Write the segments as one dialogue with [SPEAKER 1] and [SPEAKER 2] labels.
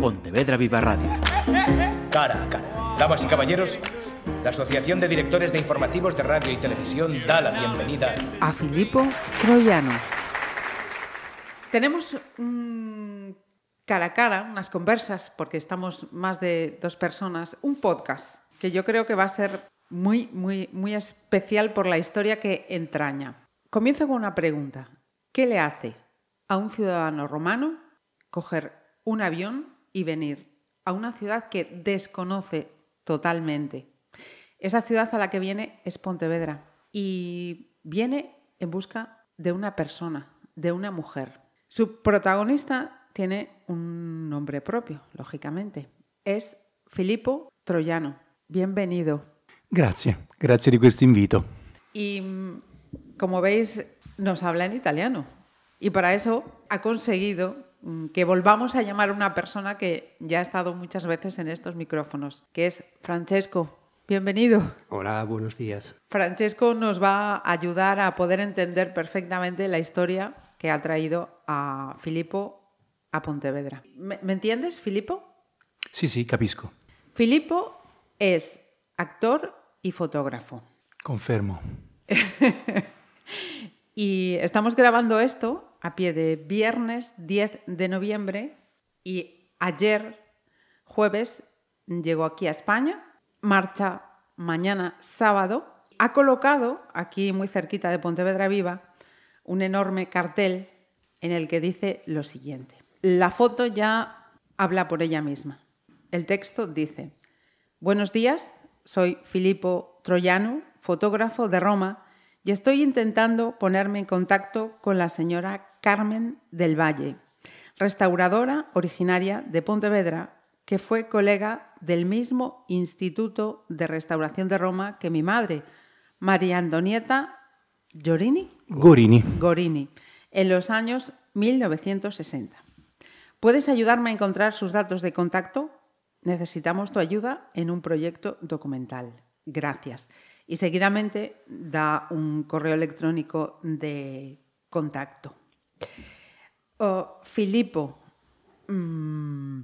[SPEAKER 1] Pontevedra Viva Radio.
[SPEAKER 2] Cara a cara. Damas y caballeros, la Asociación de Directores de Informativos de Radio y Televisión da la bienvenida.
[SPEAKER 3] A Filippo Troiano. Tenemos un cara a cara, unas conversas, porque estamos más de dos personas, un podcast que yo creo que va a ser muy, muy, muy especial por la historia que entraña. Comienzo con una pregunta. ¿Qué le hace a un ciudadano romano coger un avión y venir a una ciudad que desconoce totalmente? Esa ciudad a la que viene es Pontevedra y viene en busca de una persona, de una mujer. Su protagonista tiene un nombre propio, lógicamente. Es Filippo Troiano. Bienvenido.
[SPEAKER 4] Grazie, grazie di questo invito.
[SPEAKER 3] Y como veis, nos habla en italiano. Y para eso ha conseguido mm, que volvamos a llamar a una persona que ya ha estado muchas veces en estos micrófonos, que es Francesco. Bienvenido.
[SPEAKER 5] Hola, buenos días.
[SPEAKER 3] Francesco nos va a ayudar a poder entender perfectamente la historia que ha traído a Filippo a Pontevedra. ¿Me, ¿me entiendes, Filippo?
[SPEAKER 4] Sì, sì, capisco.
[SPEAKER 3] Filippo es actor y fotógrafo.
[SPEAKER 4] Confermo.
[SPEAKER 3] y estamos grabando esto a pie de viernes 10 de noviembre y ayer, jueves, llegó aquí a España, marcha mañana sábado, ha colocado aquí muy cerquita de Pontevedra Viva un enorme cartel en el que dice lo siguiente. La foto ya habla por ella misma. El texto dice, buenos días, soy Filippo Troiano, fotógrafo de Roma, y estoy intentando ponerme en contacto con la señora Carmen del Valle, restauradora originaria de Pontevedra, que fue colega del mismo Instituto de Restauración de Roma que mi madre, María Antonieta Giorini.
[SPEAKER 4] Gorini.
[SPEAKER 3] Gorini, en los años 1960. ¿Puedes ayudarme a encontrar sus datos de contacto? Necesitamos tu ayuda en un proyecto documental. Gracias. Y seguidamente da un correo electrónico de contacto. Oh, Filipo, mm,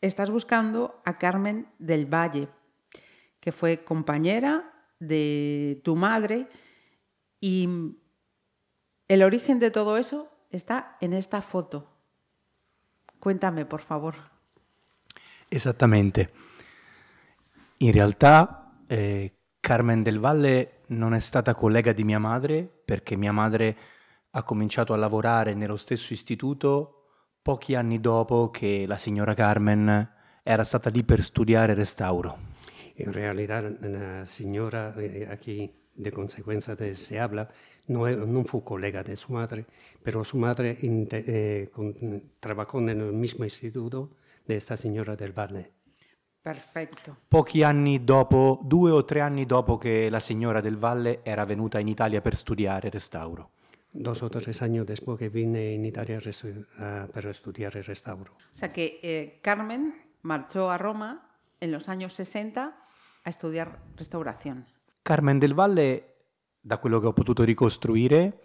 [SPEAKER 3] estás buscando a Carmen del Valle, que fue compañera de tu madre y el origen de todo eso está en esta foto. Cuéntame, por favor.
[SPEAKER 4] Esattamente. In realtà eh, Carmen del Valle non è stata collega di mia madre perché mia madre ha cominciato a lavorare nello stesso istituto pochi anni dopo che la signora Carmen era stata lì per studiare restauro.
[SPEAKER 5] En realidad, la señora eh, aquí, de consecuencia de se habla, no, e- no fue colega de su madre, pero su madre inte- eh, con- trabajó en el mismo instituto de esta señora del Valle.
[SPEAKER 3] Perfecto.
[SPEAKER 4] Pochi anni dopo, due o tre anni dopo che la signora del Valle era venuta in Italia per studiare restauro.
[SPEAKER 5] Dos o tres años después que vine en Italia a resu- a- para estudiar el restauro.
[SPEAKER 3] O sea que eh, Carmen marchó a Roma en los años 60 a estudiar restauración.
[SPEAKER 4] Carmen del Valle, da quello che ho potuto ricostruire,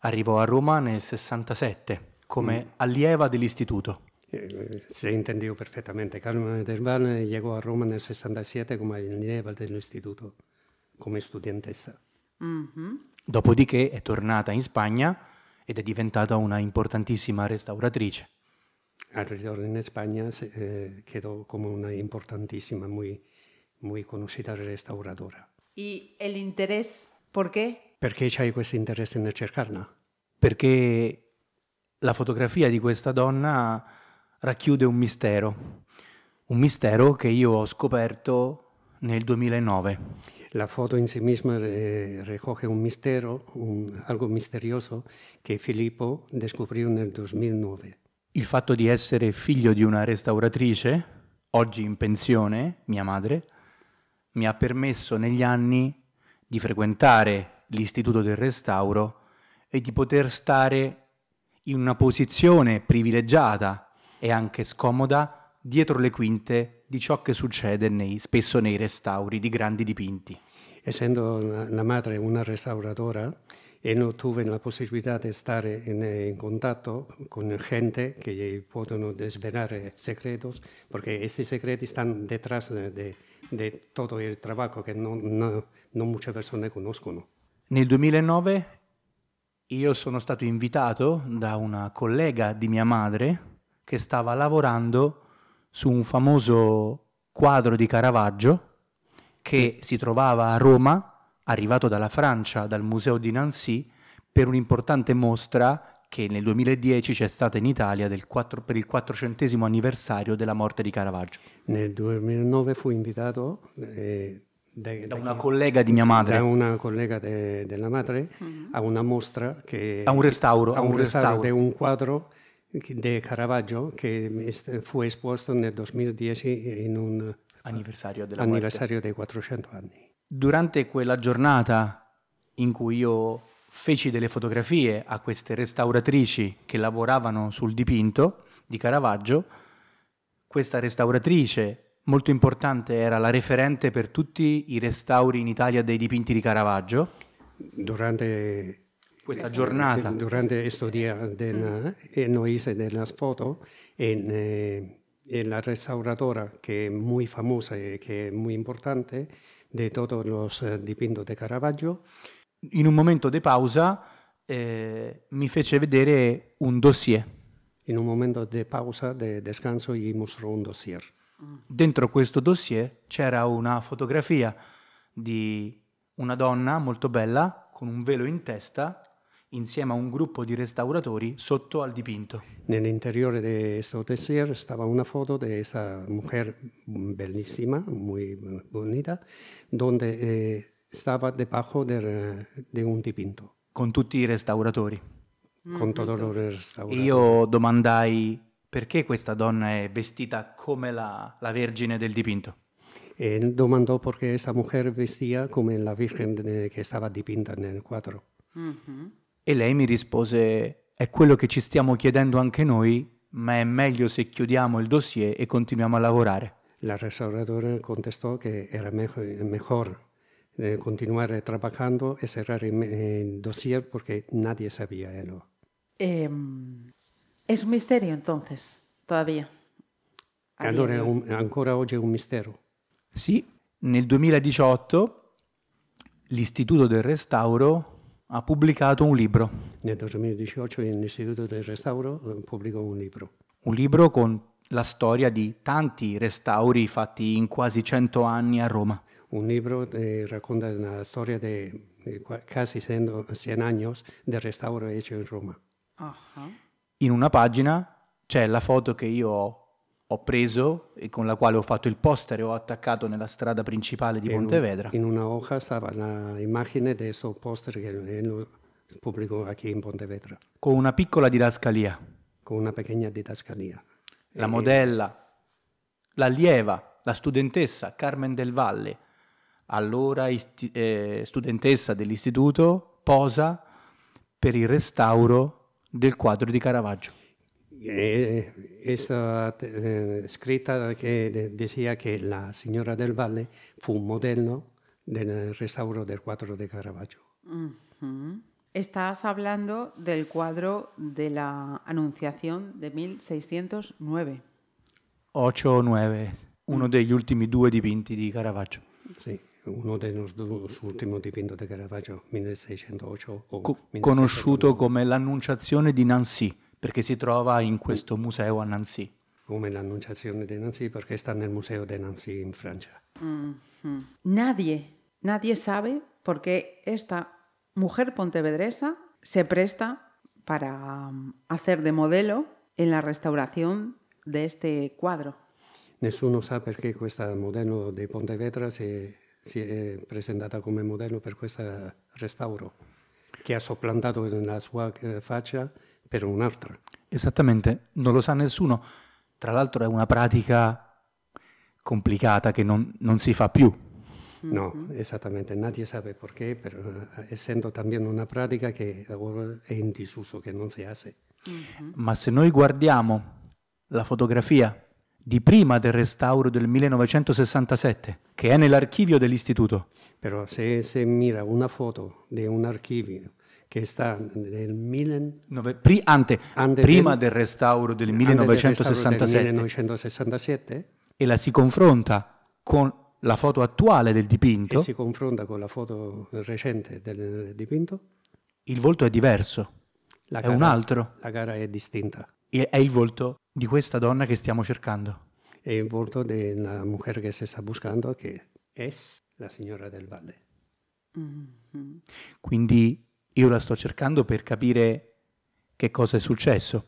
[SPEAKER 4] arrivò a Roma nel 67 come allieva dell'istituto.
[SPEAKER 5] Eh, eh, Se entendió perfectamente. Carmen del Valle llegó a Roma en el 67 como nivel del instituto, como estudiantesa.
[SPEAKER 3] Ujú.
[SPEAKER 4] Dopodiché è tornata in Spagna ed è diventata una importantissima restauratrice.
[SPEAKER 5] alrededor en España se, eh, quedó como una importantísima, muy, muy conocida restauradora.
[SPEAKER 3] Y el interés, ¿por qué?
[SPEAKER 5] Perché c'è questo interesse nel cercarla?
[SPEAKER 4] perché la fotografia di questa donna racchiude un mistero, un mistero che io ho scoperto nel 2009.
[SPEAKER 5] La foto in sé misma eh, recoge un mistero, un- algo misterioso che Filippo descubrió nel 2009.
[SPEAKER 4] Il fatto di essere figlio di una restauratrice, oggi in pensione, mia madre, mi ha permesso negli anni di frequentare l'istituto del restauro e di poter stare in una posizione privilegiata e anche scomoda dietro le quinte di ciò che succede nei- spesso nei restauri di grandi dipinti.
[SPEAKER 5] Essendo la la madre una restauradora, e non tuve la possibilità di stare in, in contatto con gente eh, che gli possono svelare segreti, perché questi segreti stanno detrás di de, de tutto il lavoro che non, no, non molte persone conoscono.
[SPEAKER 4] Nel 2009 io sono stato invitato da una collega di mia madre che stava lavorando su un famoso quadro di Caravaggio che si trovava a Roma, arrivato dalla Francia, dal museo di Nancy, per un'importante mostra che nel 2010 c'è stata in Italia 4, per il quattrocentesimo anniversario della morte di Caravaggio.
[SPEAKER 5] Nel 2009 fu invitato eh,
[SPEAKER 4] de, da una collega di mia madre.
[SPEAKER 5] Da una collega de, della madre mm-hmm. a una mostra che...
[SPEAKER 4] A un restauro.
[SPEAKER 5] A un, un restauro, restauro di un quadro di Caravaggio che fu esposto nel 2010 in un
[SPEAKER 4] anniversario,
[SPEAKER 5] anniversario dei 400 anni.
[SPEAKER 4] Durante quella giornata in cui io feci delle fotografie a queste restauratrici che lavoravano sul dipinto di Caravaggio, questa restauratrice molto importante era la referente per tutti i restauri in Italia dei dipinti di Caravaggio.
[SPEAKER 5] Durante
[SPEAKER 4] questa giornata.
[SPEAKER 5] Durante questo giorno della, mm. noi delle foto e, e, eh, la restauradora che è molto famosa e che è molto importante di tutti i dipinti di eh, Caravaggio.
[SPEAKER 4] In un momento di pausa eh, mi fece vedere un dossier.
[SPEAKER 5] In un momento di pausa, di descanso, gli mostrò un dossier.
[SPEAKER 4] Mm. Dentro questo dossier c'era una fotografia di una donna molto bella con un velo in testa insieme a un gruppo di restauratori sotto al dipinto.
[SPEAKER 5] Nell'interiore di questo este dossier stava una foto di questa mujer bellissima, molto bonita, dove eh, stava debajo de, de un dipinto.
[SPEAKER 4] Con tutti i restauratori.
[SPEAKER 5] Mm-hmm. Con tutti i restauratori.
[SPEAKER 4] Io domandai perché questa donna è vestita come la, la Vergine del dipinto.
[SPEAKER 5] E domandò perché questa mujer vestia come la Virgen de, che stava dipinta nel quadro.
[SPEAKER 4] Mm-hmm. E lei mi rispose, è quello che ci stiamo chiedendo anche noi, ma è meglio se chiudiamo il dossier e continuiamo a lavorare.
[SPEAKER 5] La restauratore contestò che era meglio eh, continuare lavorando e cerrare il dossier perché nadie sabía ello.
[SPEAKER 3] Eh, es un misterio entonces, todavía.
[SPEAKER 5] Allora, un, ancora oggi è un mistero.
[SPEAKER 4] Sì, nel 2018 l'Istituto del Restauro ha pubblicato un libro.
[SPEAKER 5] Nel 2018 l'Istituto del Restauro pubblicò un libro.
[SPEAKER 4] Un libro con la storia di tanti restauri fatti in quasi 100 anni a Roma.
[SPEAKER 5] Un libro che racconta la storia di quasi 100 anni del restauro hecho in Roma.
[SPEAKER 3] Uh-huh.
[SPEAKER 4] In una pagina c'è la foto che io ho ho preso e con la quale ho fatto il poster e ho attaccato nella strada principale di Pontevedra.
[SPEAKER 5] In, una hoja stava l'immagine di questo poster che lo pubblicò qui in Pontevedra.
[SPEAKER 4] Con una piccola didascalia.
[SPEAKER 5] Con una piccola didascalia.
[SPEAKER 4] La e... modella, l'allieva, la studentessa Carmen del Valle, allora isti- eh, studentessa dell'istituto, posa per il restauro del quadro di Caravaggio.
[SPEAKER 5] Questa eh, scritta che de, diceva che la signora del Valle fu un modello del restauro del quadro di Caravaggio.
[SPEAKER 3] Uh-huh. Estás hablando del cuadro de la Anunciación de 1609.
[SPEAKER 4] 8 o 9, uno degli ultimi due dipinti di Caravaggio.
[SPEAKER 5] Sì, uno dei nostri ultimi dipinti di Caravaggio, 1608 o
[SPEAKER 4] Co- Conosciuto come l'Annunciazione di Nancy perché si trova in questo museo a Nancy.
[SPEAKER 5] Come l'annunciazione di Nancy, perché sta nel museo di Nancy in Francia.
[SPEAKER 3] Mm-hmm. Nadie, nadie sabe por qué esta mujer pontevedresa se presta para um, hacer de modelo en la restauración de este cuadro.
[SPEAKER 5] Nessuno sa perché questa modello di Pontevedra si, si è presentata come modello per questo restauro, che ha soppiantato la sua eh, faccia per un'altra.
[SPEAKER 4] Esattamente, non lo sa nessuno. Tra l'altro è una pratica complicata che non, non si fa più.
[SPEAKER 5] No, mm-hmm. esattamente, nadie sa perché, però, essendo también una pratica che ora è in disuso, che non si hace.
[SPEAKER 4] Mm-hmm. Ma se noi guardiamo la fotografia di prima del restauro del 1967, che è nell'archivio dell'istituto.
[SPEAKER 5] Però se, se mira una foto di un archivio que está del 1000
[SPEAKER 4] Nove- pri- ante-
[SPEAKER 5] Ante
[SPEAKER 4] prima
[SPEAKER 5] del-
[SPEAKER 4] del restauro del
[SPEAKER 5] anno del
[SPEAKER 4] 1967
[SPEAKER 5] restauro del 1967
[SPEAKER 4] e la si confronta con la foto attuale del dipinto,
[SPEAKER 5] e si confronta con la foto recente del dipinto,
[SPEAKER 4] il volto è diverso,
[SPEAKER 5] la
[SPEAKER 4] è un altro,
[SPEAKER 5] la gara è distinta.
[SPEAKER 4] e è il volto di questa donna che stiamo cercando.
[SPEAKER 5] È il volto di una mujer che si sta buscando, che è la signora del valle.
[SPEAKER 3] Mhm.
[SPEAKER 4] Quindi io la sto cercando per capire che cosa è successo.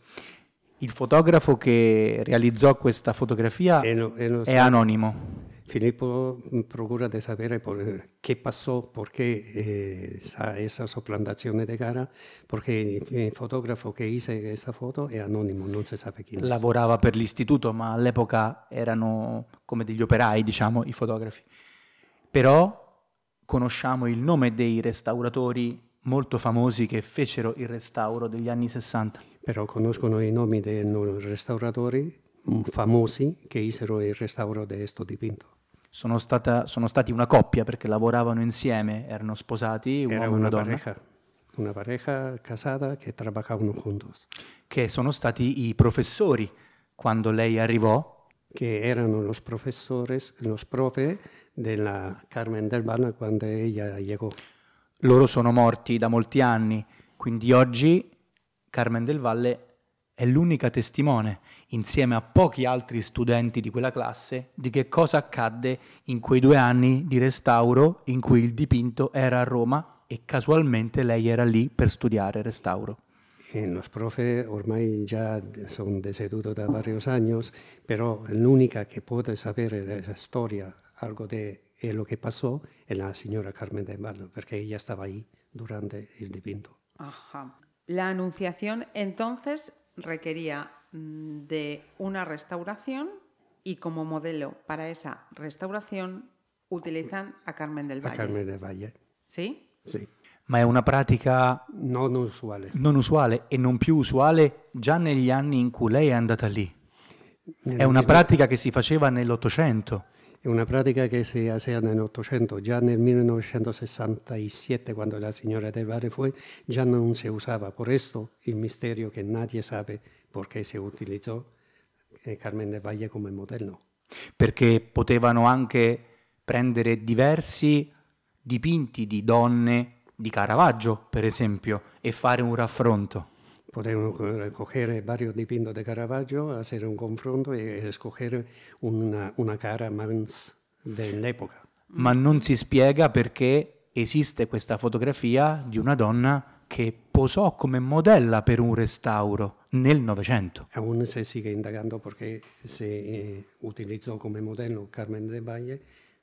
[SPEAKER 4] Il fotografo che realizzò questa fotografia
[SPEAKER 5] E no- e non
[SPEAKER 4] è
[SPEAKER 5] sa-
[SPEAKER 4] anonimo.
[SPEAKER 5] Filippo mh, procura di sapere por- che passò, perché eh, sa questa soplantazione di gara, perché il il fotografo che hizo questa foto è anonimo, non si sa chi è.
[SPEAKER 4] Lavorava per l'istituto, ma all'epoca erano come degli operai, diciamo, i fotografi. Però conosciamo il nome dei restauratori molto famosi che fecero il restauro degli anni 60.
[SPEAKER 5] Però conoscono i nomi dei no- restauratori mh, mm, famosi che hicieron il restauro di questo dipinto.
[SPEAKER 4] Sono, stata- sono stati una coppia perché lavoravano insieme, erano sposati, un
[SPEAKER 5] Era
[SPEAKER 4] uomo e una
[SPEAKER 5] una
[SPEAKER 4] donna,
[SPEAKER 5] pareja, una pareja casada que trabajaban juntos,
[SPEAKER 4] che sono stati i professori quando lei arrivò
[SPEAKER 5] que eran los profesores, los profe de la Carmen del Valle cuando ella llegó.
[SPEAKER 4] Loro sono morti da molti anni, quindi oggi Carmen del Valle è l'unica testimone, insieme a pochi altri studenti di quella classe, di che cosa accadde in quei due anni di restauro in cui il dipinto era a Roma e casualmente lei era lì per studiare restauro.
[SPEAKER 5] En Eh, los profes ormai ya son decedutos de varios años, pero la única que puede saber esa historia, algo de eh, lo que pasó, es la señora Carmen del Valle, porque ella estaba ahí durante el dipinto.
[SPEAKER 3] Ajá. La anunciación entonces requería mm, de una restauración y como modelo para esa restauración utilizan a Carmen del
[SPEAKER 5] La
[SPEAKER 3] Valle.
[SPEAKER 5] Carmen del Valle,
[SPEAKER 3] ¿Sí?
[SPEAKER 5] sí.
[SPEAKER 4] Ma è una pratica
[SPEAKER 5] No, no usuales.
[SPEAKER 4] non usuale e non più usuale già negli anni in cui lei è andata lì. È una pratica che si faceva nell'Ottocento.
[SPEAKER 5] È una pratica che si hacía nell'Ottocento, già nel 1967, quando la signora del Valle fu, già non si usava. Per questo il mistero che nadie sa perché si utilizzò eh, Carmen del Valle come modello.
[SPEAKER 4] perché potevano anche prendere diversi dipinti di donne di Caravaggio, per esempio, e fare un raffronto.
[SPEAKER 5] Potevano co- cogliere vari dipinti di Caravaggio, fare un confronto e scegliere una, una cara mans dell'epoca.
[SPEAKER 4] Ma non si spiega perché esiste questa fotografia di una donna che posò come modella per un restauro nel Novecento.
[SPEAKER 5] Aún se sigue indagando perché se eh, utilizzò come modello Carmen de Valle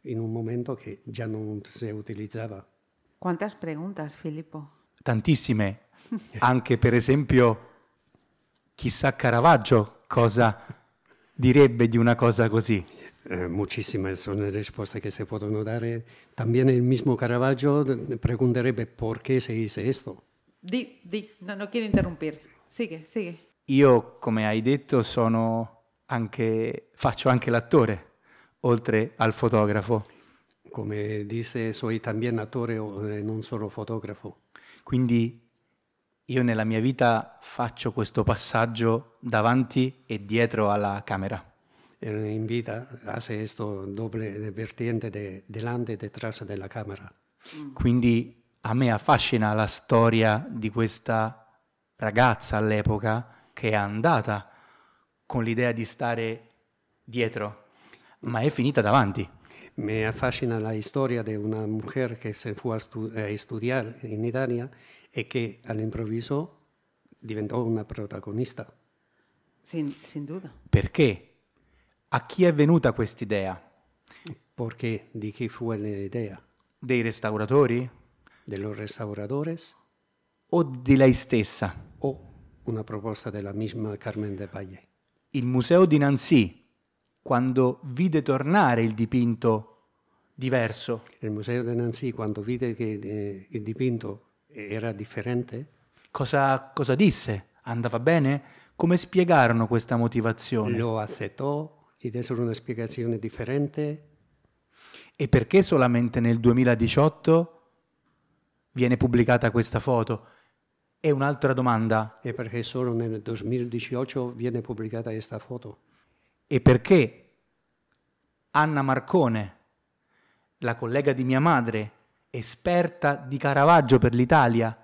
[SPEAKER 5] in un momento che già non si utilizzava.
[SPEAKER 3] ¿Cuántas preguntas, Filipo?
[SPEAKER 4] Tantissime, anche per esempio, chissà Caravaggio cosa direbbe di una cosa così.
[SPEAKER 5] Eh, muchísimas son le risposte che si possono dare. Eh, También il mismo Caravaggio eh, pregunterebbe perché se hizo esto.
[SPEAKER 3] Di, di, no, no quiero interrumpir. Sigue, sigue.
[SPEAKER 4] Io, come hai detto, sono anche, faccio anche l'attore, oltre al fotografo.
[SPEAKER 5] Come dice, soy también attore o, eh, non solo fotografo.
[SPEAKER 4] Quindi io nella mia vita faccio questo passaggio davanti e dietro alla camera.
[SPEAKER 5] Eh, In vita hace questo doble vertiente de delante e detrás della camera.
[SPEAKER 4] Quindi a me affascina la storia di questa ragazza all'epoca che è andata con l'idea di stare dietro, ma è finita davanti.
[SPEAKER 5] Me affascina la historia de una mujer que se fue a, estu- a estudiar en Italia y que al improviso diventó una protagonista.
[SPEAKER 3] Sin, sin duda.
[SPEAKER 4] Perché? A chi è venuta quest'idea?
[SPEAKER 5] Porque de qué fue la idea
[SPEAKER 4] Dei restauratori?
[SPEAKER 5] de los restauradores
[SPEAKER 4] o di lei stessa.
[SPEAKER 5] o una propuesta de la misma Carmen de Valle.
[SPEAKER 4] Il museo di Nancy, quando vide tornare il dipinto diverso,
[SPEAKER 5] El Museo de Nancy, cuando vide que eh, el dipinto era diferente,
[SPEAKER 4] cosa, cosa disse? Andava bene? Come spiegarono questa motivazione?
[SPEAKER 5] lo aceptó y de eso una explicación diferente.
[SPEAKER 4] E perché solamente nel 2018 viene pubblicata questa foto? E un'altra domanda,
[SPEAKER 5] è perché solo nel 2018 viene pubblicata questa foto.
[SPEAKER 4] e perché Anna Marcone, la collega di mia madre, esperta di Caravaggio per l'Italia,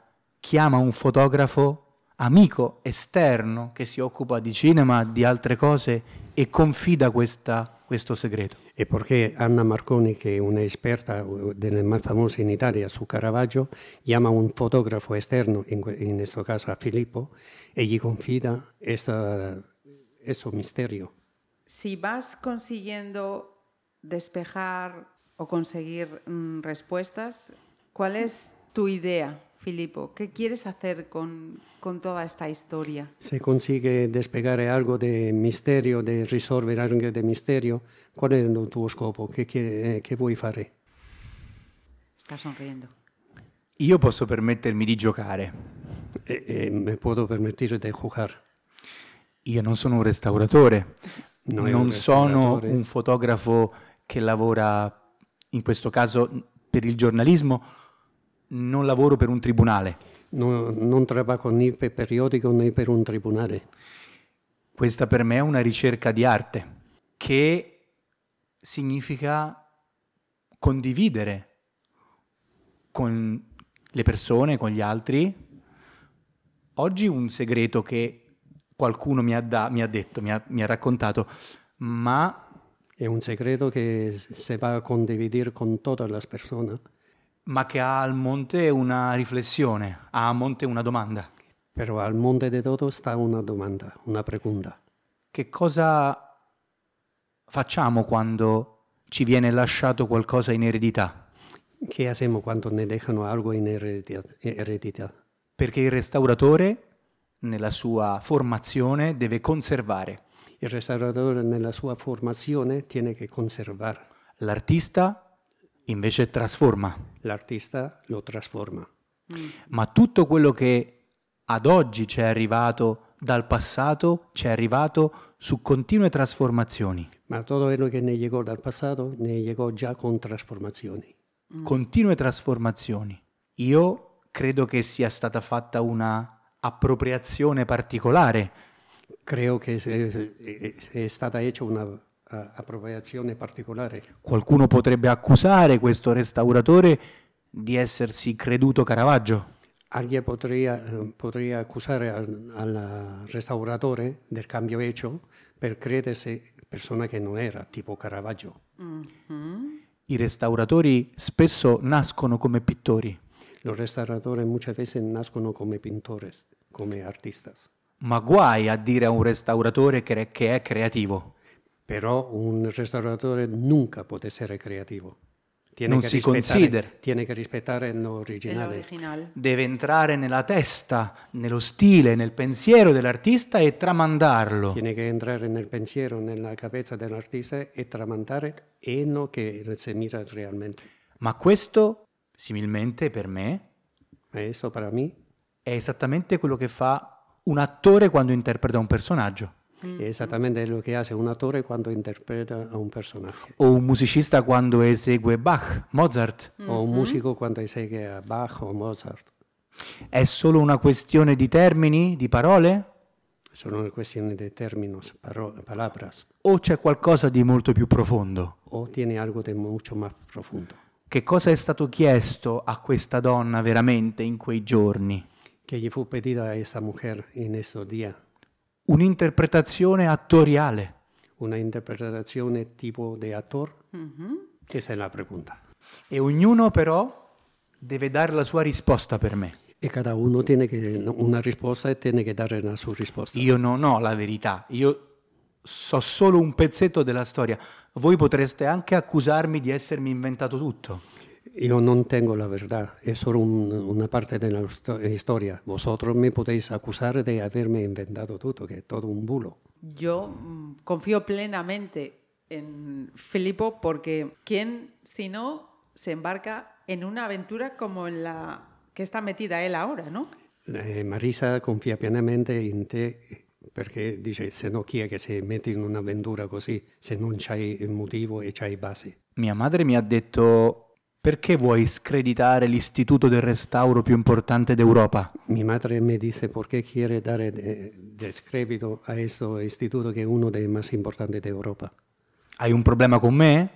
[SPEAKER 4] chiama un fotografo amico esterno che si occupa di cinema, di altre cose e confida questa- questo segreto.
[SPEAKER 5] E perché Anna Marconi, che è un'esperta eh, delle más famose in Italia su Caravaggio, chiama un fotografo esterno, in, que- in questo caso a Filippo, e gli confida questo misterio.
[SPEAKER 3] Si vas consiguiendo despejar o conseguir mm, respuestas, ¿cuál es tu idea, Filipo? ¿Qué quieres hacer con, con toda esta historia?
[SPEAKER 5] Se consigue despegare algo di misterio, di risolvere anche di misterio, qual è il tuo scopo? Che, che- eh, che vuoi fare?
[SPEAKER 3] Está sonriendo.
[SPEAKER 4] Io posso permettermi di giocare.
[SPEAKER 5] E, e mi posso permettere di giocare.
[SPEAKER 4] Io non sono un restauratore,
[SPEAKER 5] No, è
[SPEAKER 4] non
[SPEAKER 5] un
[SPEAKER 4] sono
[SPEAKER 5] restauratore.
[SPEAKER 4] un fotografo che lavora, in questo caso per il giornalismo, non lavoro per un tribunale.
[SPEAKER 5] No- non lavoro né per periodico né per un tribunale.
[SPEAKER 4] Questa per me è una ricerca di arte che significa condividere con le persone, con gli altri. Oggi un segreto che qualcuno mi ha, da- mi ha detto, mi ha- mi ha raccontato, ma
[SPEAKER 5] È un segreto che se va a condividere con tutte le persone,
[SPEAKER 4] ma che ha al monte una riflessione, ha a monte una domanda.
[SPEAKER 5] però al monte di tutto sta una domanda, una pregunta.
[SPEAKER 4] Che cosa facciamo quando ci viene lasciato qualcosa in eredità?
[SPEAKER 5] Che facciamo quando ne dejano algo in eredità? eredità?
[SPEAKER 4] Perché il restauratore, nella sua formazione, deve conservare.
[SPEAKER 5] Il restauratore nella sua formazione tiene che conservare,
[SPEAKER 4] L'artista, invece, trasforma.
[SPEAKER 5] l'artista lo trasforma.
[SPEAKER 4] Ma tutto quello che ad oggi ci è arrivato dal passato, ci è arrivato su continue trasformazioni.
[SPEAKER 5] Ma tutto quello che ne llegò dal passato ne llegò già con trasformazioni.
[SPEAKER 4] continue trasformazioni. Io credo che sia stata fatta una appropriazione particolare.
[SPEAKER 5] Credo che se- è- è stata fatta una eh, appropriazione particolare.
[SPEAKER 4] Qualcuno potrebbe accusare questo restauratore di essersi creduto Caravaggio.
[SPEAKER 5] Alguien podría, podría acusar al, al restauratore del cambio hecho per crederse persona che non era, tipo Caravaggio.
[SPEAKER 4] I restauratori spesso nascono come pittori,
[SPEAKER 5] Los restauradores muchas veces nascono come pintores, come artistas.
[SPEAKER 4] ma guai a dire a un restauratore che è, che è creativo.
[SPEAKER 5] Però un restauratore nunca può essere creativo. Tiene
[SPEAKER 4] Non
[SPEAKER 5] che
[SPEAKER 4] si
[SPEAKER 5] rispettare-
[SPEAKER 4] considera.
[SPEAKER 5] Tiene che rispettare
[SPEAKER 3] El
[SPEAKER 5] l'originale.
[SPEAKER 3] original.
[SPEAKER 4] Deve entrare nella testa, nello stile, nel pensiero dell'artista e tramandarlo.
[SPEAKER 5] Tiene che entrare nel pensiero, nella cabeza dell'artista e tramandare e no che se mira realmente.
[SPEAKER 4] Ma questo, similmente per me,
[SPEAKER 5] Ma questo per me
[SPEAKER 4] è esattamente quello che fa un attore quando interpreta un personaggio
[SPEAKER 5] È esattamente lo che hace un attore quando interpreta a un personaggio,
[SPEAKER 4] o un musicista quando esegue Bach, Mozart.
[SPEAKER 5] o un musico quando esegue a Bach o Mozart.
[SPEAKER 4] È solo una questione di termini, di parole
[SPEAKER 5] Sono una questione di terminos, paro- palabras,
[SPEAKER 4] o c'è qualcosa di molto più profondo?
[SPEAKER 5] o tiene algo di molto più profondo.
[SPEAKER 4] Che cosa è stato chiesto a questa donna veramente in quei giorni?
[SPEAKER 5] Che gli fu pedita a questa mujer in questo día,
[SPEAKER 4] Un'interpretazione attoriale.
[SPEAKER 5] una interpretazione tipo di attore? Questa è la pregunta.
[SPEAKER 4] E ognuno però deve dare la sua risposta per me.
[SPEAKER 5] E cada uno tiene che- una risposta e tiene che dare la sua risposta.
[SPEAKER 4] Io non ho la verità, io so solo un pezzetto della storia. Voi potreste anche accusarmi di essermi inventato tutto.
[SPEAKER 5] Io non tengo la verità, è solo un- una parte della sto- storia. Vosotros mi potete accusare di avermi inventato tutto, che è tutto un bulo.
[SPEAKER 3] Yo mm, confío plenamente en Filipo porque ¿quién si no se embarca en una aventura como en la que está metida él ahora, ¿no?
[SPEAKER 5] Eh, Marisa confia pienamente in te perché dice se no chi è che si mette in un'avventura così se non c'hai il motivo e c'hai base.
[SPEAKER 4] Mia madre mi ha detto Perché vuoi screditare l'istituto del restauro più importante d'Europa?
[SPEAKER 5] Mi madre me dice por qué quiere dar eh, descrédito a este instituto que es uno de los más importantes de Europa.
[SPEAKER 4] Hai un problema con me?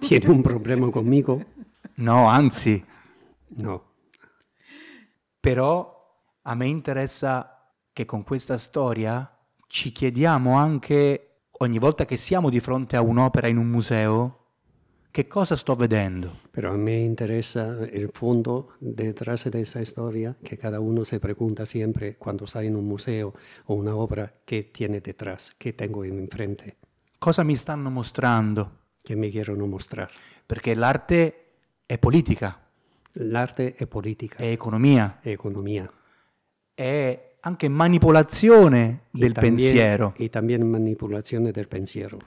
[SPEAKER 5] ¿Tiene un problema conmigo?
[SPEAKER 4] No, anzi,
[SPEAKER 5] No.
[SPEAKER 4] però a me interessa che con questa storia ci chiediamo anche, ogni volta che siamo di fronte a un'opera in un museo, che cosa sto vedendo?
[SPEAKER 5] Pero a mí me interesa el fondo detrás de esa historia que cada uno se pregunta siempre cuando está en un museo o una obra, ¿qué tiene detrás? ¿Qué tengo enfrente?
[SPEAKER 4] Cosa mi stanno mostrando?
[SPEAKER 5] ¿Qué me quiero no mostrar?
[SPEAKER 4] Perché l'arte è politica,
[SPEAKER 5] El arte es política,
[SPEAKER 4] è economia,
[SPEAKER 5] es economía.
[SPEAKER 4] è anche manipolazione
[SPEAKER 5] Y
[SPEAKER 4] del
[SPEAKER 5] también-
[SPEAKER 4] pensiero.
[SPEAKER 5] Y también manipulaciones del pensiero.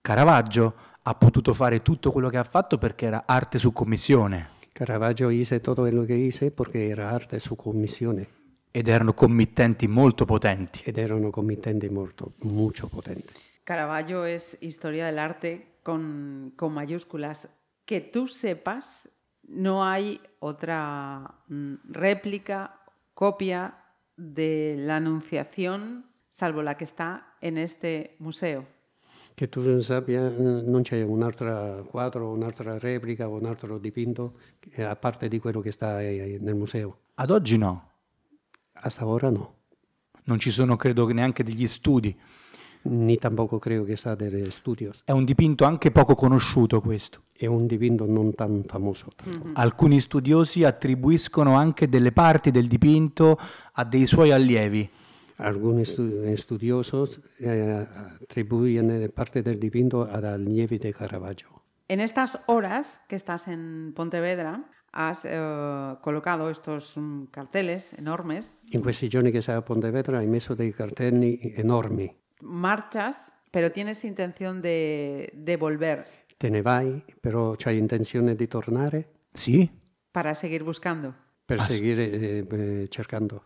[SPEAKER 4] Caravaggio ha potuto fare tutto quello che ha fatto perché era arte su commissione
[SPEAKER 5] Caravaggio hice todo lo que hice porque era arte su commissione
[SPEAKER 4] ed erano committenti molto potenti.
[SPEAKER 5] ed erano committenti molto, mucho potente.
[SPEAKER 3] Caravaggio es historia del arte con, con mayúsculas. Que tú sepas, no hay otra mm, réplica, copia de la Anunciación, salvo la que está en este museo.
[SPEAKER 5] Che tu non sappia, eh, non c'è un altro quadro, un'altra replica o un altro dipinto eh, a parte di quello che sta eh, nel museo.
[SPEAKER 4] Ad oggi no,
[SPEAKER 5] Hasta ora no.
[SPEAKER 4] non ci sono credo neanche degli studi.
[SPEAKER 5] Ni tampoco credo che sta degli studios.
[SPEAKER 4] È un dipinto anche poco conosciuto questo.
[SPEAKER 5] È un dipinto non tan famoso.
[SPEAKER 4] Mm-hmm.
[SPEAKER 5] tampoco.
[SPEAKER 4] Alcuni studiosi attribuiscono anche delle parti del dipinto a dei suoi allievi.
[SPEAKER 5] Alcuni stu- studiosos eh, attribuiscono parte del dipinto ad allievi di Caravaggio.
[SPEAKER 3] En estas horas que estás en Pontevedra, has eh, colocado estos mm, carteles enormes,
[SPEAKER 5] In questi giorni che sei a Pontevedra hai messo dei cartelli enormi.
[SPEAKER 3] marchas, pero tienes intención de, de volver
[SPEAKER 5] Te ne vai, però c'hai intenzione di tornare
[SPEAKER 4] Sì?
[SPEAKER 3] para seguir buscando.
[SPEAKER 5] per seguire eh, eh, cercando.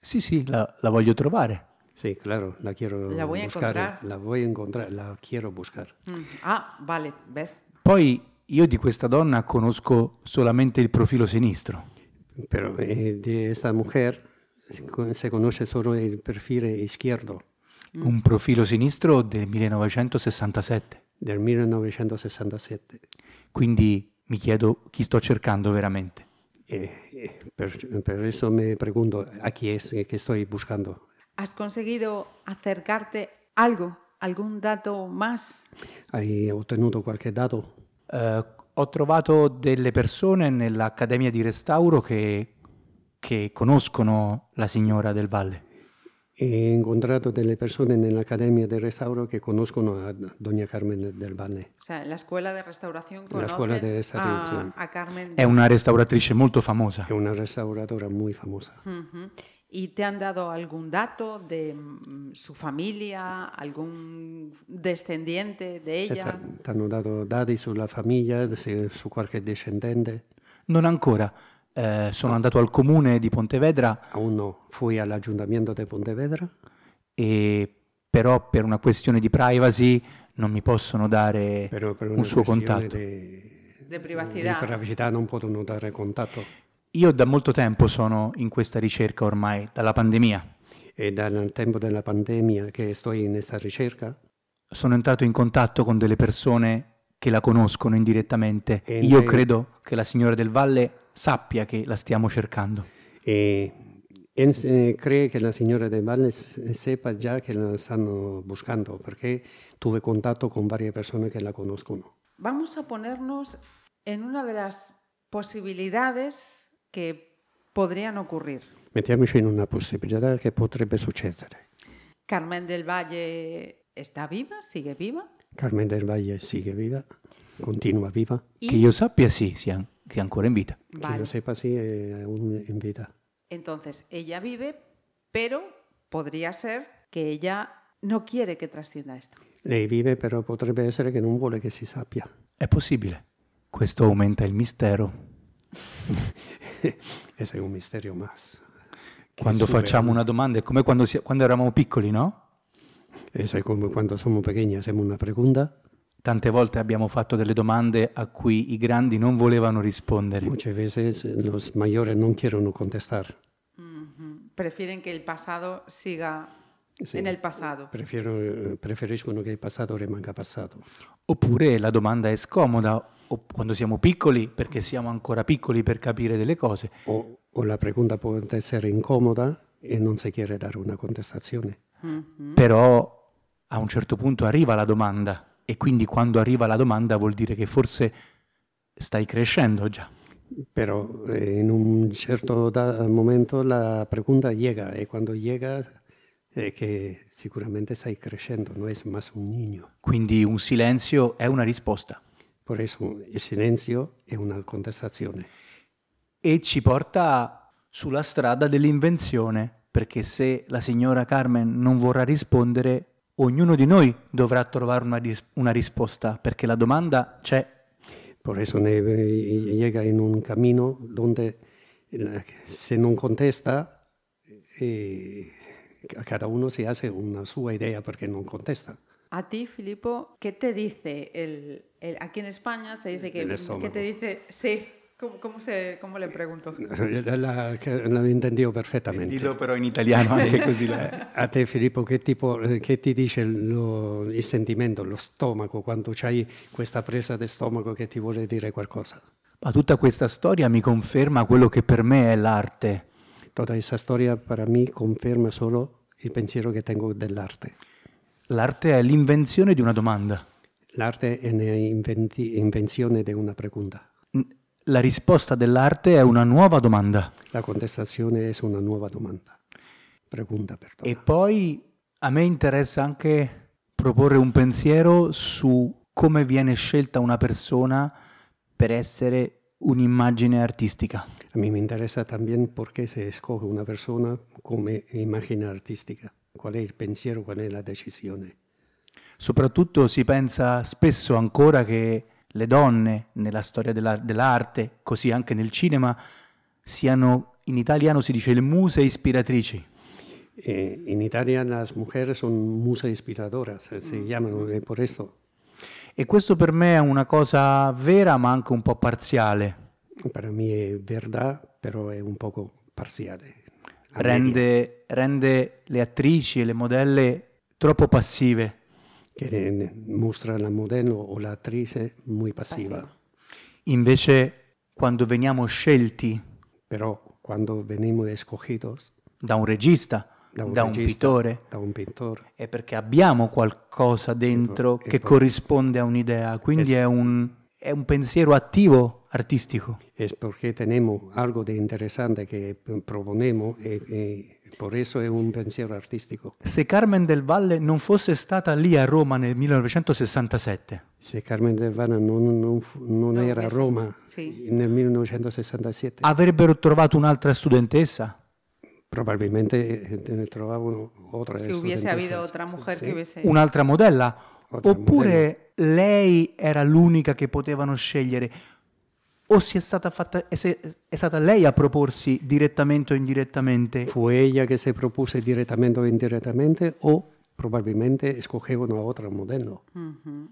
[SPEAKER 4] Sì, sì, la, la voglio trovare.
[SPEAKER 5] Sí, claro, la quiero
[SPEAKER 3] La voy a
[SPEAKER 5] buscar. eh,
[SPEAKER 3] encontrar.
[SPEAKER 5] La voy a encontrar, la quiero buscar.
[SPEAKER 3] Mm. Ah, vale, ¿ves?
[SPEAKER 4] Poi io di questa donna conosco solamente il profilo sinistro.
[SPEAKER 5] Pero eh, de esta mujer se con- se conoce solo el perfil izquierdo
[SPEAKER 4] Un profilo sinistro del 1967.
[SPEAKER 5] del 1967.
[SPEAKER 4] Quindi mi chiedo chi sto cercando veramente.
[SPEAKER 5] Eh, eh, per, per eso me pregunto, ¿a quién es que estoy buscando?
[SPEAKER 3] ¿Has conseguido acercarte algo, algún dato más?
[SPEAKER 5] ¿Hay obtenido cualquier dato?
[SPEAKER 4] Eh, ho trovato delle persone nell'Accademia di Restauro che, che conoscono la signora del Valle.
[SPEAKER 5] He encontrado delle persone en la Academia de Restauro que conozco a doña Carmen del Valle.
[SPEAKER 3] O sea, en la escuela de restauración
[SPEAKER 5] En la
[SPEAKER 3] conoce
[SPEAKER 5] escuela de Eh, restauración.
[SPEAKER 3] A, a Carmen.
[SPEAKER 4] È una restauratrice molto famosa.
[SPEAKER 5] Es una restauradora muy famosa.
[SPEAKER 3] Ujú. ¿Y te han dado algún dato de mm, su familia, algún descendiente de
[SPEAKER 5] Ti
[SPEAKER 3] ella?
[SPEAKER 5] hanno dato dati sulla famiglia, se- su qualche discendente?
[SPEAKER 4] Non ancora. Eh, sono andato al comune di Pontevedra,
[SPEAKER 5] Aún no. Fui all'aggiuntamento di Pontevedra,
[SPEAKER 4] e però per una questione di privacy non mi possono dare
[SPEAKER 5] però per una
[SPEAKER 4] un suo
[SPEAKER 5] questione
[SPEAKER 4] contatto.
[SPEAKER 5] di-
[SPEAKER 3] De
[SPEAKER 5] di
[SPEAKER 3] privacidad.
[SPEAKER 5] privacidad non potono dare contatto.
[SPEAKER 4] Io da molto tempo sono in questa ricerca ormai, dalla pandemia.
[SPEAKER 5] E dal tempo della pandemia che sto in questa ricerca,
[SPEAKER 4] Sono entrato in contatto con delle persone che la conoscono indirettamente.
[SPEAKER 5] E
[SPEAKER 4] Io
[SPEAKER 5] lei-
[SPEAKER 4] credo che la signora del Valle sappia che la stiamo cercando.
[SPEAKER 5] e, e se- cree che la signora De Valle s- sepa già che la stanno buscando, perché tuve contatto con varie persone che la conoscono.
[SPEAKER 3] Vamos a ponernos en una de las posibilidades que podrían ocurrir.
[SPEAKER 5] Mettiamoci in una possibilità che potrebbe succedere.
[SPEAKER 3] Carmen del Valle está viva, sigue viva.
[SPEAKER 5] Carmen del Valle sigue viva, continua viva.
[SPEAKER 3] Y,
[SPEAKER 4] Che io sappia sì, sia, che è ancora in vita.
[SPEAKER 5] Que
[SPEAKER 3] Vale.
[SPEAKER 5] yo sepa, sí, eh, aún en vida.
[SPEAKER 3] Entonces, ella vive, pero podría ser que ella no quiere que trascienda esto.
[SPEAKER 5] Lei vive, pero potrebbe essere che non vuole che si sappia.
[SPEAKER 4] È possibile. Questo aumenta il mistero.
[SPEAKER 5] Ese è un mistero más.
[SPEAKER 4] Quando
[SPEAKER 5] supera-
[SPEAKER 4] facciamo una domanda è come quando, si- quando eravamo piccoli, no?
[SPEAKER 5] Ese è come quando siamo pequeñas, hacemos una pregunta
[SPEAKER 4] Tante volte abbiamo fatto delle domande a cui i grandi non volevano rispondere.
[SPEAKER 5] Muchas veces los mayores no quieren contestar.
[SPEAKER 3] Prefieren que el pasado siga
[SPEAKER 5] Sí.
[SPEAKER 3] en el pasado.
[SPEAKER 5] Prefiero- preferiscono che il passato rimanga passato.
[SPEAKER 4] Oppure la domanda è scomoda o quando siamo piccoli, perché siamo ancora piccoli per capire delle cose,
[SPEAKER 5] O, o la pregunta può essere incomoda e non si chiede dare una contestazione.
[SPEAKER 4] però a un certo punto arriva la domanda e quindi quando arriva la domanda vuol dire che forse stai crescendo già.
[SPEAKER 5] Pero eh, en un cierto da- momento la pregunta llega y cuando llega eh, que seguramente estáis creciendo, no es más un niño.
[SPEAKER 4] Quindi un silenzio è una risposta
[SPEAKER 5] Por eso el silencio es una contestación.
[SPEAKER 4] e ci porta sulla strada dell'invenzione, perché se la signora Carmen non vorrà rispondere, ognuno di noi dovrà trovare una, ris- una risposta, perché la domanda c'è
[SPEAKER 5] Por eso ne- eh, llega en un camino donde la- se no contesta, eh, a cada uno se hace una su idea porque no contesta.
[SPEAKER 3] A ti, Filipo, ¿qué te dice el, el- aquí en España se dice que
[SPEAKER 5] El
[SPEAKER 3] ¿qué
[SPEAKER 5] estómago.
[SPEAKER 3] te dice sí? ¿Cómo, cómo se cómo le pregunto?
[SPEAKER 5] La, la- que- la entendió perfectamente.
[SPEAKER 4] Dillo però in italiano anche così. la-
[SPEAKER 5] Eh, A te Filippo, che, tipo- eh, che ti dice lo- il sentimento, lo stomaco, quando c'hai questa presa di stomaco che ti vuole dire qualcosa?
[SPEAKER 4] Ma tutta questa storia mi conferma quello che per me è l'arte,
[SPEAKER 5] Tutta questa storia per me conferma solo il pensiero che tengo dell'arte.
[SPEAKER 4] L'arte è l'invenzione di una domanda.
[SPEAKER 5] L'arte è l'invenzione di una pregunta.
[SPEAKER 4] N- La risposta dell'arte è una nuova domanda.
[SPEAKER 5] La contestazione è una nuova domanda. Pregunta, perdono.
[SPEAKER 4] E poi a me interessa anche proporre un pensiero su come viene scelta una persona per essere un'immagine artistica.
[SPEAKER 5] A me mi interessa anche perché si escoge una persona come immagine artistica. Qual è il pensiero, qual è la decisione?
[SPEAKER 4] Soprattutto si pensa spesso ancora che le donne nella storia della- dell'arte, così anche nel cinema, siano, in italiano si dice, le muse ispiratrici.
[SPEAKER 5] Eh, en Italia las mujeres son musas inspiradoras, eh,
[SPEAKER 4] Mm.
[SPEAKER 5] se llaman eh, por esto.
[SPEAKER 4] E questo per me è una cosa vera ma anche un po' parziale.
[SPEAKER 5] Para mí es verdad, pero es un poco parcial. eh, a media.
[SPEAKER 4] Rende, rende le attrici e le modelle troppo passive.
[SPEAKER 5] Que eh, muestra la modelo o la actriz eh, muy pasiva.
[SPEAKER 4] Invece quando veniamo scelti
[SPEAKER 5] Pero cuando venimos escogidos
[SPEAKER 4] da un regista, da un, eh.
[SPEAKER 5] regista,
[SPEAKER 4] pittore,
[SPEAKER 5] da un pintor,
[SPEAKER 4] è perché abbiamo qualcosa dentro
[SPEAKER 5] e
[SPEAKER 4] che
[SPEAKER 5] poi-
[SPEAKER 4] corrisponde a un'idea, quindi è un, è un pensiero attivo artistico.
[SPEAKER 5] es porque tenemos algo de interesante que p- proponemos, eh, eh, por eso es un pensiero artístico.
[SPEAKER 4] Se Carmen del Valle non fosse stata lì a Roma nel 1967,
[SPEAKER 5] Si Carmen del Vana no, no, fu- no
[SPEAKER 3] No
[SPEAKER 5] era
[SPEAKER 3] hubiese-
[SPEAKER 5] Roma
[SPEAKER 3] sí. Ah.
[SPEAKER 5] en el 1967,
[SPEAKER 4] avrebbero trovato un'altra studentessa?
[SPEAKER 5] Probablemente eh, te- trovavano otra.
[SPEAKER 3] Si hubiese habido otra mujer que hubiese
[SPEAKER 4] un'altra modella,
[SPEAKER 5] Otra
[SPEAKER 4] oppure lei era l'unica che potevano scegliere, o si è stata, fatta, è, se- è stata lei a proporsi direttamente o indirettamente.
[SPEAKER 5] ¿Fue ella que se propuse directamente o indirectamente o probablemente escogieron a otro modelo?
[SPEAKER 3] Mm.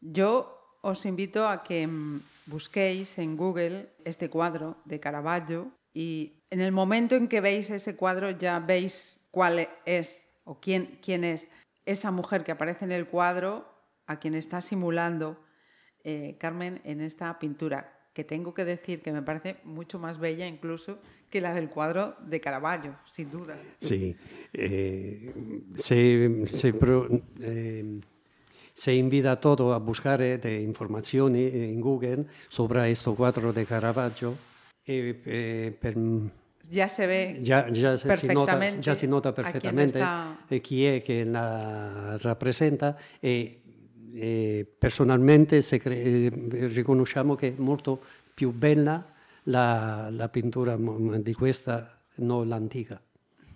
[SPEAKER 3] Yo os invito a que mm, busquéis en Google este cuadro de Caravaggio y en el momento en que veis ese cuadro ya veis cuál es o quién, quién es esa mujer que aparece en el cuadro a quien está simulando eh, Carmen en esta pintura, que tengo que decir que me parece mucho más bella incluso que la del cuadro de Caravaggio, sin duda.
[SPEAKER 5] Sí. Eh, se, se, pro- eh, se invita a todo a buscar eh, de información eh, en Google sobre estos cuadro de Caravaggio. Eh, eh, per-
[SPEAKER 3] Ya se ve
[SPEAKER 5] Ya, ya se, si nota,
[SPEAKER 3] perfectamente
[SPEAKER 5] ya se nota
[SPEAKER 3] a quién
[SPEAKER 5] perfectamente
[SPEAKER 3] está-
[SPEAKER 5] eh, quién es que la representa. E, eh, personalmente se cre- eh, riconosciamo che è molto più bella la, la pintura mo- di questa, non l'antica.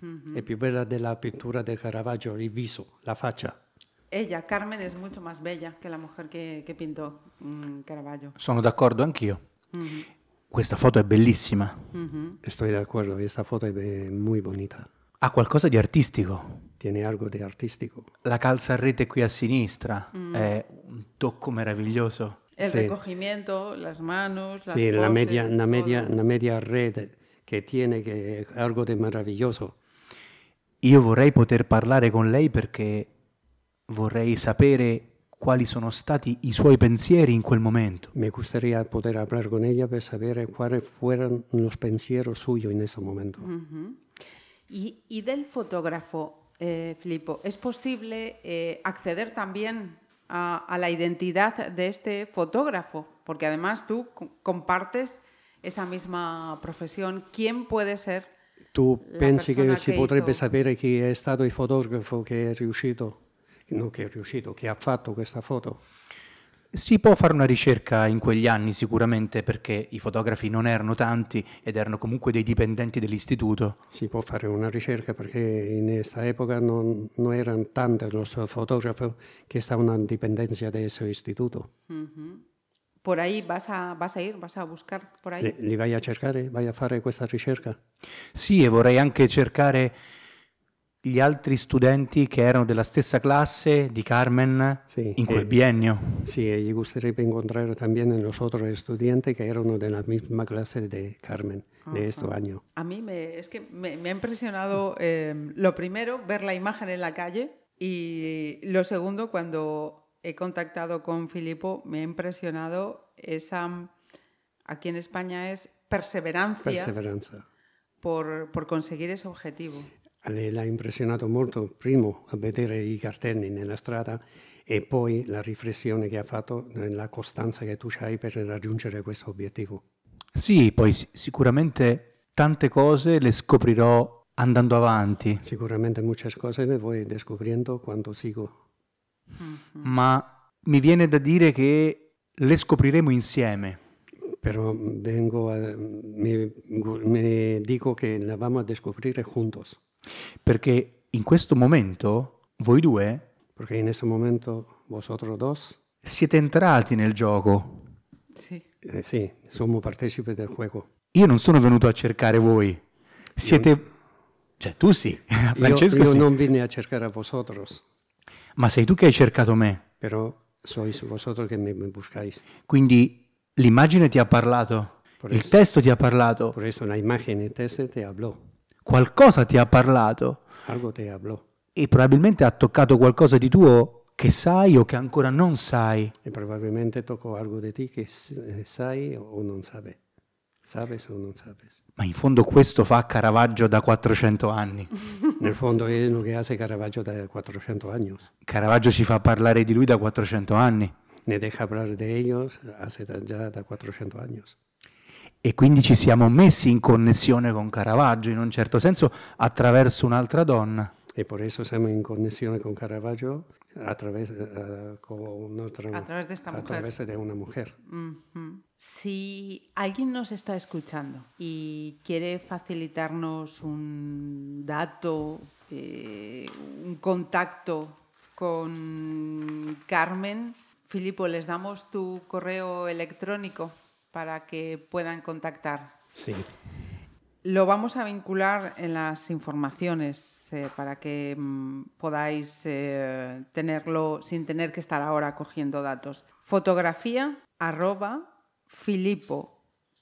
[SPEAKER 3] Mm-hmm.
[SPEAKER 5] È più bella della pittura del Caravaggio, il viso, la faccia.
[SPEAKER 3] Ella, Carmen, es mucho más bella que la mujer que, que pintó mm, Caravaggio.
[SPEAKER 4] Sono d'accordo anch'io. Questa foto è bellissima,
[SPEAKER 5] Sto d'accordo, questa foto è be- muy bonita.
[SPEAKER 4] ha qualcosa di artistico.
[SPEAKER 5] Tiene algo di artistico.
[SPEAKER 4] La calza a rete qui a sinistra è un tocco meraviglioso.
[SPEAKER 3] El
[SPEAKER 5] Sí.
[SPEAKER 3] recogimiento, las manos, las
[SPEAKER 5] Sí, la
[SPEAKER 3] poses,
[SPEAKER 5] media, la,
[SPEAKER 3] todo.
[SPEAKER 5] media, la media red che tiene che è algo di meraviglioso.
[SPEAKER 4] Io vorrei poter parlare con lei perché vorrei sapere quali sono stati i suoi pensieri in quel momento.
[SPEAKER 5] Me gustaría poder hablar con ella para saber cuáles fueron los pensieros suyos en ese momento.
[SPEAKER 3] Ujú. Y, y del fotógrafo, eh, Filipo, ¿es posible eh, acceder también a, a la identidad de este fotógrafo? Porque además tú co- compartes esa misma profesión. ¿Quién puede ser?
[SPEAKER 5] Tu
[SPEAKER 3] La
[SPEAKER 5] pensi che
[SPEAKER 3] persona
[SPEAKER 5] si
[SPEAKER 3] che
[SPEAKER 5] potrebbe
[SPEAKER 3] hizo-
[SPEAKER 5] sapere chi è stato il fotografo che è riuscito, no che è riuscito, che ha fatto questa foto?
[SPEAKER 4] Si può fare una ricerca in quegli anni sicuramente perché i fotografi non erano tanti ed erano comunque dei dipendenti dell'istituto.
[SPEAKER 5] Si può fare una ricerca perché in questa epoca non, non erano tanti i fotografi che stavano in dipendenza del suo istituto.
[SPEAKER 3] Ujú. Por ahí vas a, vas a ir, vas a buscar por ahí.
[SPEAKER 5] Li, li vai a cercare? Vai a fare questa ricerca?
[SPEAKER 4] Sì, e vorrei anche cercare gli altri studenti che erano della stessa classe di Carmen
[SPEAKER 5] Sì,
[SPEAKER 4] in quel
[SPEAKER 5] eh.
[SPEAKER 4] biennio.
[SPEAKER 5] Sì, e gli gustaría incontrare también i nostri studenti che erano della misma classe di Carmen, este di questo anno.
[SPEAKER 3] A mí me, es que me, me ha impresionado eh, lo primero, ver la imagen en la calle y lo segundo, cuando he contactado con Filipo, me ha impresionado esa, aquí en España es perseverancia
[SPEAKER 5] Perseveranza.
[SPEAKER 3] por, por conseguir ese objetivo.
[SPEAKER 5] A lei l'ha impressionato molto, primo a vedere i cartelli nella strada e poi la riflessione che ha fatto, eh, la costanza che tu hai per raggiungere questo obiettivo.
[SPEAKER 4] Sì, poi si- sicuramente tante cose le scoprirò andando avanti.
[SPEAKER 5] Sicuramente muchas cose le voy descubriendo quando sigo.
[SPEAKER 4] ma mi viene da dire che le scopriremo insieme.
[SPEAKER 5] Pero vengo a- me, me digo que la vamos a descubrir juntos,
[SPEAKER 4] Perché in questo momento voi due
[SPEAKER 5] porque en ese momento vosotros dos,
[SPEAKER 4] siete entrati nel gioco.
[SPEAKER 3] Sí.
[SPEAKER 5] eh, sí, somos partícipes del juego.
[SPEAKER 4] Io non sono venuto a cercare voi. Siete... Cioè tu sì,
[SPEAKER 5] Yo,
[SPEAKER 4] Ah, Francesco
[SPEAKER 5] yo
[SPEAKER 4] sì,
[SPEAKER 5] no vine a cercar a vosotros,
[SPEAKER 4] ma sei tu che hai cercato me.
[SPEAKER 5] pero sois vosotros que me- me buscáis.
[SPEAKER 4] Quindi l'immagine ti ha parlato,
[SPEAKER 5] Por
[SPEAKER 4] il
[SPEAKER 5] eso.
[SPEAKER 4] testo ti ha parlato,
[SPEAKER 5] Por eso la imagen en ese te habló,
[SPEAKER 4] qualcosa ti ha parlato
[SPEAKER 5] algo te habló.
[SPEAKER 4] e probabilmente ha toccato qualcosa di tuo che sai o che ancora non sai.
[SPEAKER 5] Y probablemente tocó algo de ti que s- eh, sai o no sabes. Sabes o no sabes.
[SPEAKER 4] Ma in fondo questo fa Caravaggio da 400 anni.
[SPEAKER 5] En el fondo es lo que hace Caravaggio de 400 años.
[SPEAKER 4] Caravaggio ci fa parlare di lui da 400 anni
[SPEAKER 5] Me deja hablar de ellos hace da- ya de 400 años.
[SPEAKER 4] e quindi ci siamo messi in connessione con Caravaggio in un certo senso attraverso un'altra donna.
[SPEAKER 5] Y por eso estamos en conexión con Caravaggio a través, eh, con otra-
[SPEAKER 3] A través de esta
[SPEAKER 5] a
[SPEAKER 3] mujer.
[SPEAKER 5] través de una mujer.
[SPEAKER 3] Ujú. Si alguien nos está escuchando y quiere facilitarnos un dato, eh, un contacto con Carmen, Filipo, les damos tu correo electrónico para que puedan contactar.
[SPEAKER 5] Sí.
[SPEAKER 3] Lo vamos a vincular en las informaciones eh, para que mm, podáis eh, tenerlo sin tener que estar ahora cogiendo datos. Fotografía arroba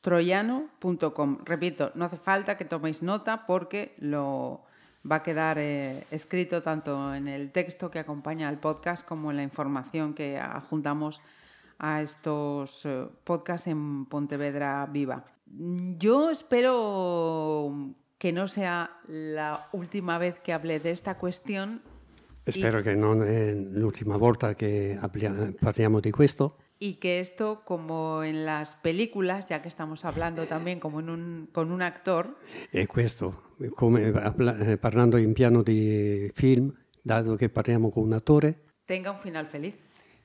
[SPEAKER 3] filipotroyano.com. Repito, no hace falta que toméis nota porque lo va a quedar eh, escrito tanto en el texto que acompaña al podcast como en la información que adjuntamos a estos eh, podcasts en Pontevedra Viva. Yo espero que no sea la última vez que hable de esta cuestión
[SPEAKER 5] Espero que no es la última volta que hablia- parliamo de esto.
[SPEAKER 3] y que esto, como en las películas, ya que estamos hablando también como en un- con un actor,
[SPEAKER 5] E questo, come appla- eh, parlando in piano di film, dato che parliamo con un attore,
[SPEAKER 3] tenga un final feliz.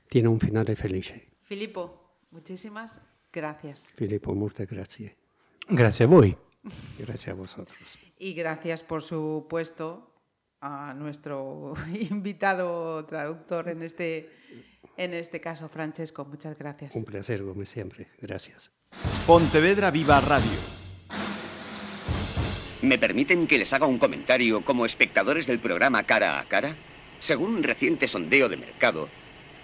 [SPEAKER 5] tiene un finale felice.
[SPEAKER 3] Filipo, muchísimas gracias.
[SPEAKER 5] Filippo, molte grazie.
[SPEAKER 4] Grazie a voi.
[SPEAKER 5] Grazie a vosotros.
[SPEAKER 3] Y gracias, por supuesto, a nuestro invitado traductor en este, en este caso, Francesco. Muchas gracias.
[SPEAKER 5] Un piacere come sempre. Gracias.
[SPEAKER 1] Pontevedra Viva Radio.
[SPEAKER 6] ¿Me permiten que les haga un comentario como espectadores del programa Cara a Cara? Según un reciente sondeo de mercado,